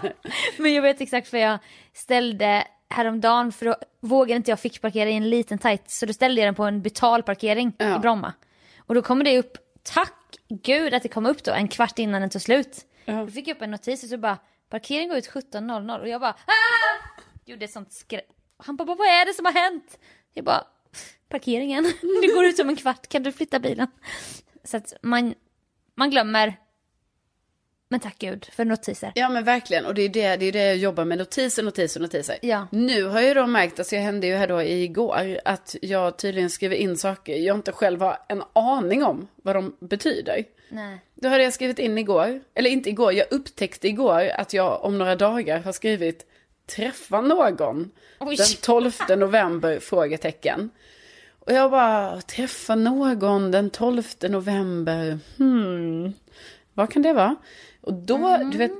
Speaker 1: men jag vet exakt för jag ställde häromdagen för då vågade inte jag fick parkera i en liten tight så då ställde jag den på en betalparkering
Speaker 2: Ja.
Speaker 1: i Bromma. Och då kommer det upp, tack gud att det kom upp då en kvart innan den tog slut. Då fick jag upp en notis och så bara parkering går ut 17.00 och jag bara ah! Gjorde ett sånt skrä... Han bara vad är det som har hänt? Jag bara parkeringen, det går ut om en kvart kan du flytta bilen? Så att man, man glömmer. Men tack gud för notiser.
Speaker 2: Ja men verkligen, och det är det, det, är det jag jobbar med, notiser, notiser, notiser.
Speaker 1: Ja.
Speaker 2: Nu har jag då märkt, alltså jag hände ju här då igår, att jag tydligen skriver in saker jag inte själv har en aning om vad de betyder.
Speaker 1: Nej.
Speaker 2: Då hade jag skrivit in igår, eller inte igår, jag upptäckte igår att jag om några dagar har skrivit träffa någon
Speaker 1: Oj.
Speaker 2: den 12 november? frågetecken. Och jag bara, träffa någon den 12 november, hmm, vad kan det vara? Och då, du vet,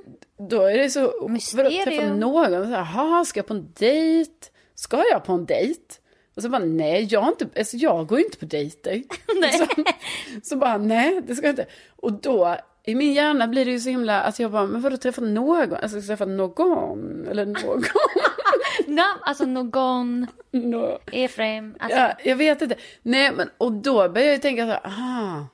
Speaker 2: då är det så, vadå, träffa
Speaker 1: Mysterium.
Speaker 2: någon, Så här, jaha, ska jag på en dejt? Ska jag på en dejt? Och så bara, nej, jag, har inte, alltså, jag går ju inte på dejter. Liksom. Så bara, nej, det ska jag inte. Och då, i min hjärna blir det ju så himla, att jag bara, men vadå träffa någon? Alltså träffa någon, eller någon.
Speaker 1: Namn, alltså någon,
Speaker 2: Nå-
Speaker 1: Efraim. Alltså,
Speaker 2: Ja, jag vet inte. Nej, men och då börjar jag ju tänka så här, aha.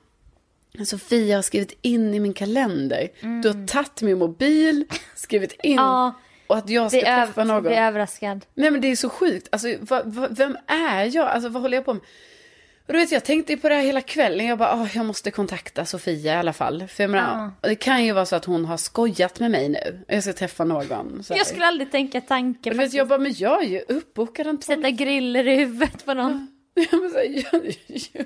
Speaker 2: Sofia har skrivit in i min kalender. Du har tagit min mobil, skrivit in.
Speaker 1: Mm. Ja.
Speaker 2: och att jag ska
Speaker 1: blir,
Speaker 2: träffa
Speaker 1: över,
Speaker 2: någon.
Speaker 1: blir överraskad.
Speaker 2: Nej men det är så sjukt. Alltså, vad- vad- vem är jag? Alltså, vad håller jag på med? Och du vet, jag tänkte ju på det här hela kvällen. Jag bara, "Åh, jag måste kontakta Sofia i alla fall. För jag menar, det kan ju vara så att hon har skojat med mig nu. Jag ska träffa någon. Så här.
Speaker 1: Jag skulle aldrig tänka
Speaker 2: Och
Speaker 1: tanken på
Speaker 2: du vet,
Speaker 1: att
Speaker 2: jag bara, men jag är ju uppbokad den 12.
Speaker 1: sätta griller i huvudet på någon.
Speaker 2: Jag bara så här, "Ja, ja,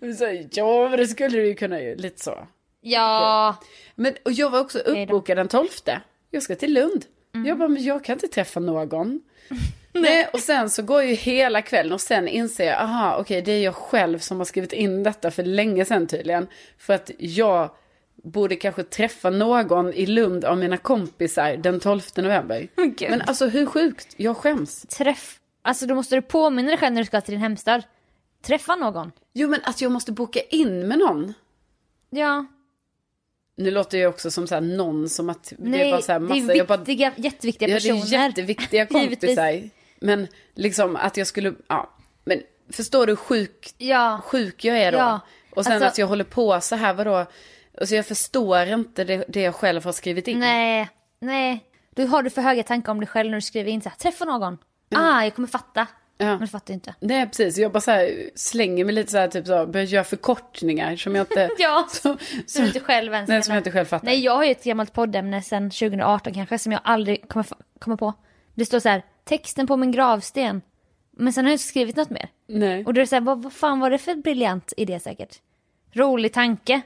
Speaker 2: ja." Så här, ja, men det skulle du ju kunna ju. Lite så.
Speaker 1: Ja,
Speaker 2: Men, och jag var också
Speaker 1: då. Mm.
Speaker 2: uppbokad den 12. Jag ska till Lund. Jag bara, men jag kan inte träffa någon. Nej, och sen så går ju hela kvällen och sen inser jag, aha, okej, det är jag själv som har skrivit in detta för länge sedan tydligen. För att jag borde kanske träffa någon i Lund av mina kompisar den 12 november.
Speaker 1: Men gud.
Speaker 2: Men alltså hur sjukt, jag skäms.
Speaker 1: träff. Alltså då måste du påminna dig själv när du ska till din hemstad. Träffa någon.
Speaker 2: Jo, men att jag måste boka in med någon.
Speaker 1: Ja,
Speaker 2: Nu låter jag också som så här någon som att det är
Speaker 1: nej,
Speaker 2: bara så här massa, jag bara
Speaker 1: viktiga, jätteviktiga personer.
Speaker 2: Ja, det är jätteviktiga kompisar.
Speaker 1: Givetvis.
Speaker 2: men liksom att jag skulle, ja. Men förstår du hur sjuk,
Speaker 1: Ja,
Speaker 2: sjuk jag är då?
Speaker 1: Ja,
Speaker 2: Och sen
Speaker 1: alltså-
Speaker 2: att jag håller på så här, vadå? Alltså jag förstår inte det, det jag själv har skrivit in.
Speaker 1: nej, nej. Då har du för höga tankar om dig själv när du skriver in så här, träffa någon. Ah, jag kommer fatta.
Speaker 2: Ja.
Speaker 1: Men du fattar ju inte.
Speaker 2: Nej precis, jag bara så här, slänger mig lite så här, typ så, här, börjar göra förkortningar som jag inte...
Speaker 1: Ja,
Speaker 2: som,
Speaker 1: Som du inte själv ens
Speaker 2: nej, som
Speaker 1: menar.
Speaker 2: jag inte själv fattar.
Speaker 1: Nej, jag har ju ett gammalt poddämne sedan 2018 kanske som jag aldrig kommer, fa- kommer på. Det står så här, texten på min gravsten. Men sen har jag inte skrivit något mer.
Speaker 2: Nej.
Speaker 1: Och då är det så här, vad, vad fan var det för briljant idé säkert? Rolig tanke.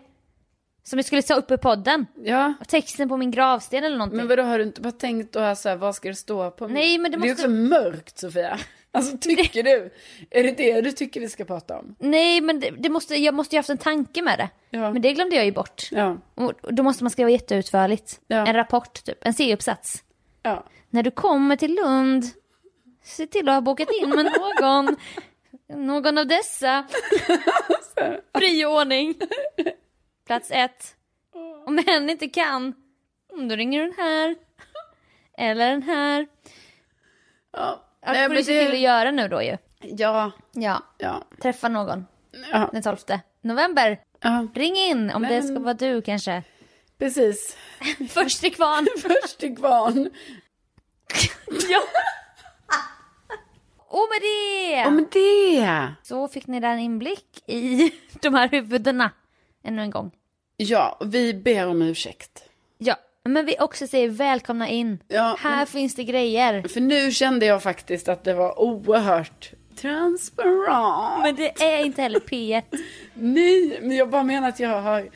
Speaker 1: Som jag skulle ta upp i podden.
Speaker 2: Ja.
Speaker 1: Texten på min gravsten eller någonting.
Speaker 2: Men vadå, har du inte bara tänkt då här så här, vad ska det stå på?
Speaker 1: Nej, men det
Speaker 2: Det är
Speaker 1: måste-
Speaker 2: också mörkt Sofia. Alltså tycker du? Är det det du tycker vi ska prata om?
Speaker 1: Nej, men det, det måste, jag måste ju haft en tanke med det.
Speaker 2: Ja.
Speaker 1: Men det glömde jag ju bort.
Speaker 2: Ja.
Speaker 1: Och och då måste man skriva jätteutförligt.
Speaker 2: Ja.
Speaker 1: En rapport typ, en C-uppsats.
Speaker 2: Ja.
Speaker 1: när du kommer till Lund, se till att ha bokat in med någon. Någon av dessa. Fri och ordning. Plats ett. Om hen inte kan, mm, då ringer du den här. Eller den här.
Speaker 2: Ja,
Speaker 1: Allt får du se till att göra nu då ju.
Speaker 2: ja,
Speaker 1: Ja,
Speaker 2: ja,
Speaker 1: träffa någon
Speaker 2: ja,
Speaker 1: den 12. november.
Speaker 2: Ja,
Speaker 1: Ring in om det
Speaker 2: Men-
Speaker 1: ska vara du kanske.
Speaker 2: precis.
Speaker 1: Först till kvarn.
Speaker 2: Först till kvarn.
Speaker 1: ja. Och med det
Speaker 2: Ja, men det.
Speaker 1: så fick ni där en inblick i de här huvudena ännu en gång.
Speaker 2: Ja, vi ber om ursäkt.
Speaker 1: Ja, men vi också säger välkomna in.
Speaker 2: Ja,
Speaker 1: Här finns det grejer.
Speaker 2: För nu kände jag faktiskt att det var oerhört transparent.
Speaker 1: Men det är inte heller P1.
Speaker 2: Nej, men jag bara menar att jag har...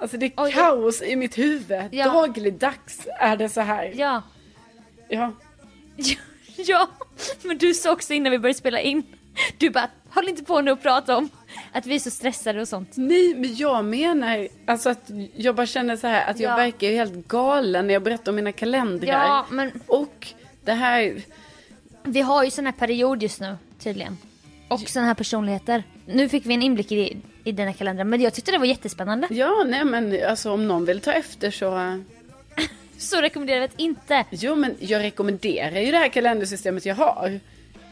Speaker 2: Alltså det är
Speaker 1: Oj, ja.
Speaker 2: kaos i mitt huvud.
Speaker 1: Ja.
Speaker 2: Dagligdags är det så här. Ja.
Speaker 1: Ja. Ja, men du sa också innan vi började spela in. Du bara, håll inte på nu och prata om att vi är så stressade och sånt.
Speaker 2: Nej, men jag menar alltså att jag bara känner så här att jag
Speaker 1: Ja.
Speaker 2: verkar ju helt galen när jag berättar om mina kalendrar.
Speaker 1: Ja, men
Speaker 2: Och det här...
Speaker 1: vi har ju sån här period just nu tydligen. Och såna här personligheter. Nu fick vi en inblick i, i dina kalendrar, men jag tyckte det var jättespännande.
Speaker 2: Ja, nej men alltså om någon vill ta efter så...
Speaker 1: Så rekommenderar vi att inte.
Speaker 2: Jo, men jag rekommenderar ju det här kalendersystemet jag har.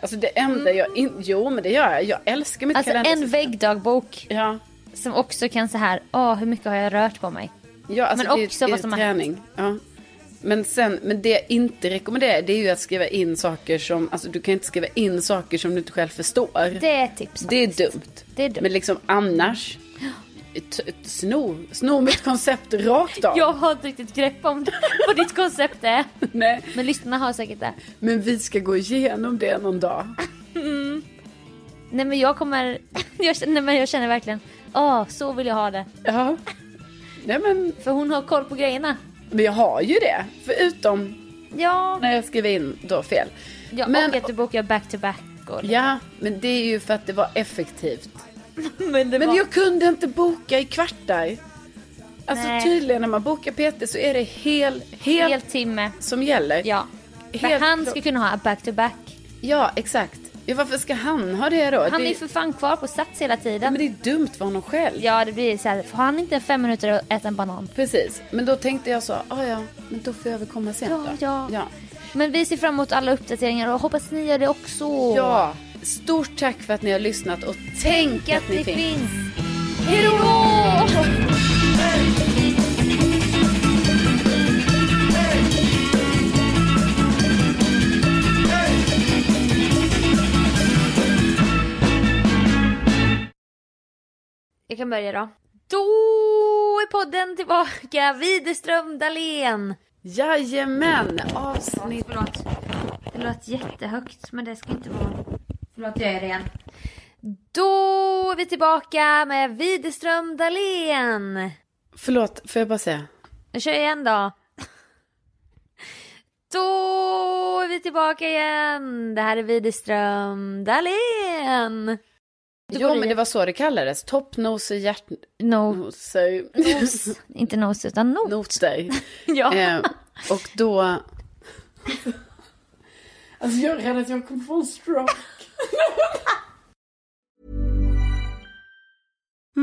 Speaker 2: Alltså det enda jag... In... Jo, men det gör jag. Jag älskar mitt
Speaker 1: Mm. Alltså en
Speaker 2: kalendersystem.
Speaker 1: väggdagbok
Speaker 2: Ja.
Speaker 1: som också kan så här, åh hur mycket har jag rört på mig?
Speaker 2: Ja, alltså
Speaker 1: Men
Speaker 2: det är-
Speaker 1: också
Speaker 2: det är
Speaker 1: vad som har
Speaker 2: träning. Ja. Men, sen, men det jag inte rekommenderar det är ju att skriva in saker som, alltså du kan inte skriva in saker som du inte själv förstår.
Speaker 1: Det är ett tips.
Speaker 2: Det är
Speaker 1: faktiskt.
Speaker 2: dumt.
Speaker 1: Det är dumt.
Speaker 2: Men liksom annars, t- t- sno, sno mitt koncept rakt av.
Speaker 1: Jag har inte riktigt grepp om vad ditt koncept är.
Speaker 2: Nej,
Speaker 1: Men lyssnarna har säkert det.
Speaker 2: men vi ska gå igenom det någon dag.
Speaker 1: Nej men jag kommer, jag känner, nej, men jag känner verkligen, åh så vill jag ha det.
Speaker 2: Ja. Nej men,
Speaker 1: För hon har koll på grejerna.
Speaker 2: men jag har ju det. Förutom
Speaker 1: Ja,
Speaker 2: när jag skriver in då fel.
Speaker 1: ja
Speaker 2: men-
Speaker 1: och att du bokar back to back. Och
Speaker 2: Ja, men det är ju för att det var effektivt.
Speaker 1: liksom, Men det
Speaker 2: Men
Speaker 1: var...
Speaker 2: jag kunde inte boka i kvartar. Alltså
Speaker 1: Nej.
Speaker 2: tydligen när man bokar PT så är det hel, hel,
Speaker 1: Helt timme.
Speaker 2: som gäller.
Speaker 1: Ja. Men
Speaker 2: Helt
Speaker 1: han
Speaker 2: klart.
Speaker 1: ska kunna ha back to back.
Speaker 2: Ja, exakt. Ja, varför ska han ha det då?
Speaker 1: Han
Speaker 2: det,
Speaker 1: är ju för fan kvar på sats hela tiden.
Speaker 2: Men det är dumt för honom själv.
Speaker 1: Ja det blir så här, får han inte fem minuter att äta en banan?
Speaker 2: Precis. Men då tänkte jag så, ah, ja, men då får jag väl komma sent
Speaker 1: Ja,
Speaker 2: då.
Speaker 1: ja.
Speaker 2: ja.
Speaker 1: Men vi ser fram emot alla uppdateringar och hoppas ni gör det också.
Speaker 2: Ja. Stort tack för att ni har lyssnat och
Speaker 1: Tänk att
Speaker 2: ni
Speaker 1: det
Speaker 2: finns.
Speaker 1: finns. Hejdå! Jag kan börja då. Då är podden tillbaka. Widerström Dahlén.
Speaker 2: Jajamän, avsnitt.
Speaker 1: Förlåt. Det låt jättehögt men det ska inte vara... Förlåt, jag gör det igen. Då är vi tillbaka med Widerström Dahlén.
Speaker 2: Förlåt, får jag bara säga?
Speaker 1: Nu kör jag igen då. Då är vi tillbaka igen. Det här är Widerström Dahlén. Då går
Speaker 2: Jo,
Speaker 1: det
Speaker 2: men
Speaker 1: i-
Speaker 2: det var så det kallades. Toppnoser,
Speaker 1: No,
Speaker 2: hjärtnoser,
Speaker 1: nos. Inte nos utan not.
Speaker 2: noter.
Speaker 1: Ja.
Speaker 2: Eh, och då... Alltså jag är rädd att jag kommer få en stroke.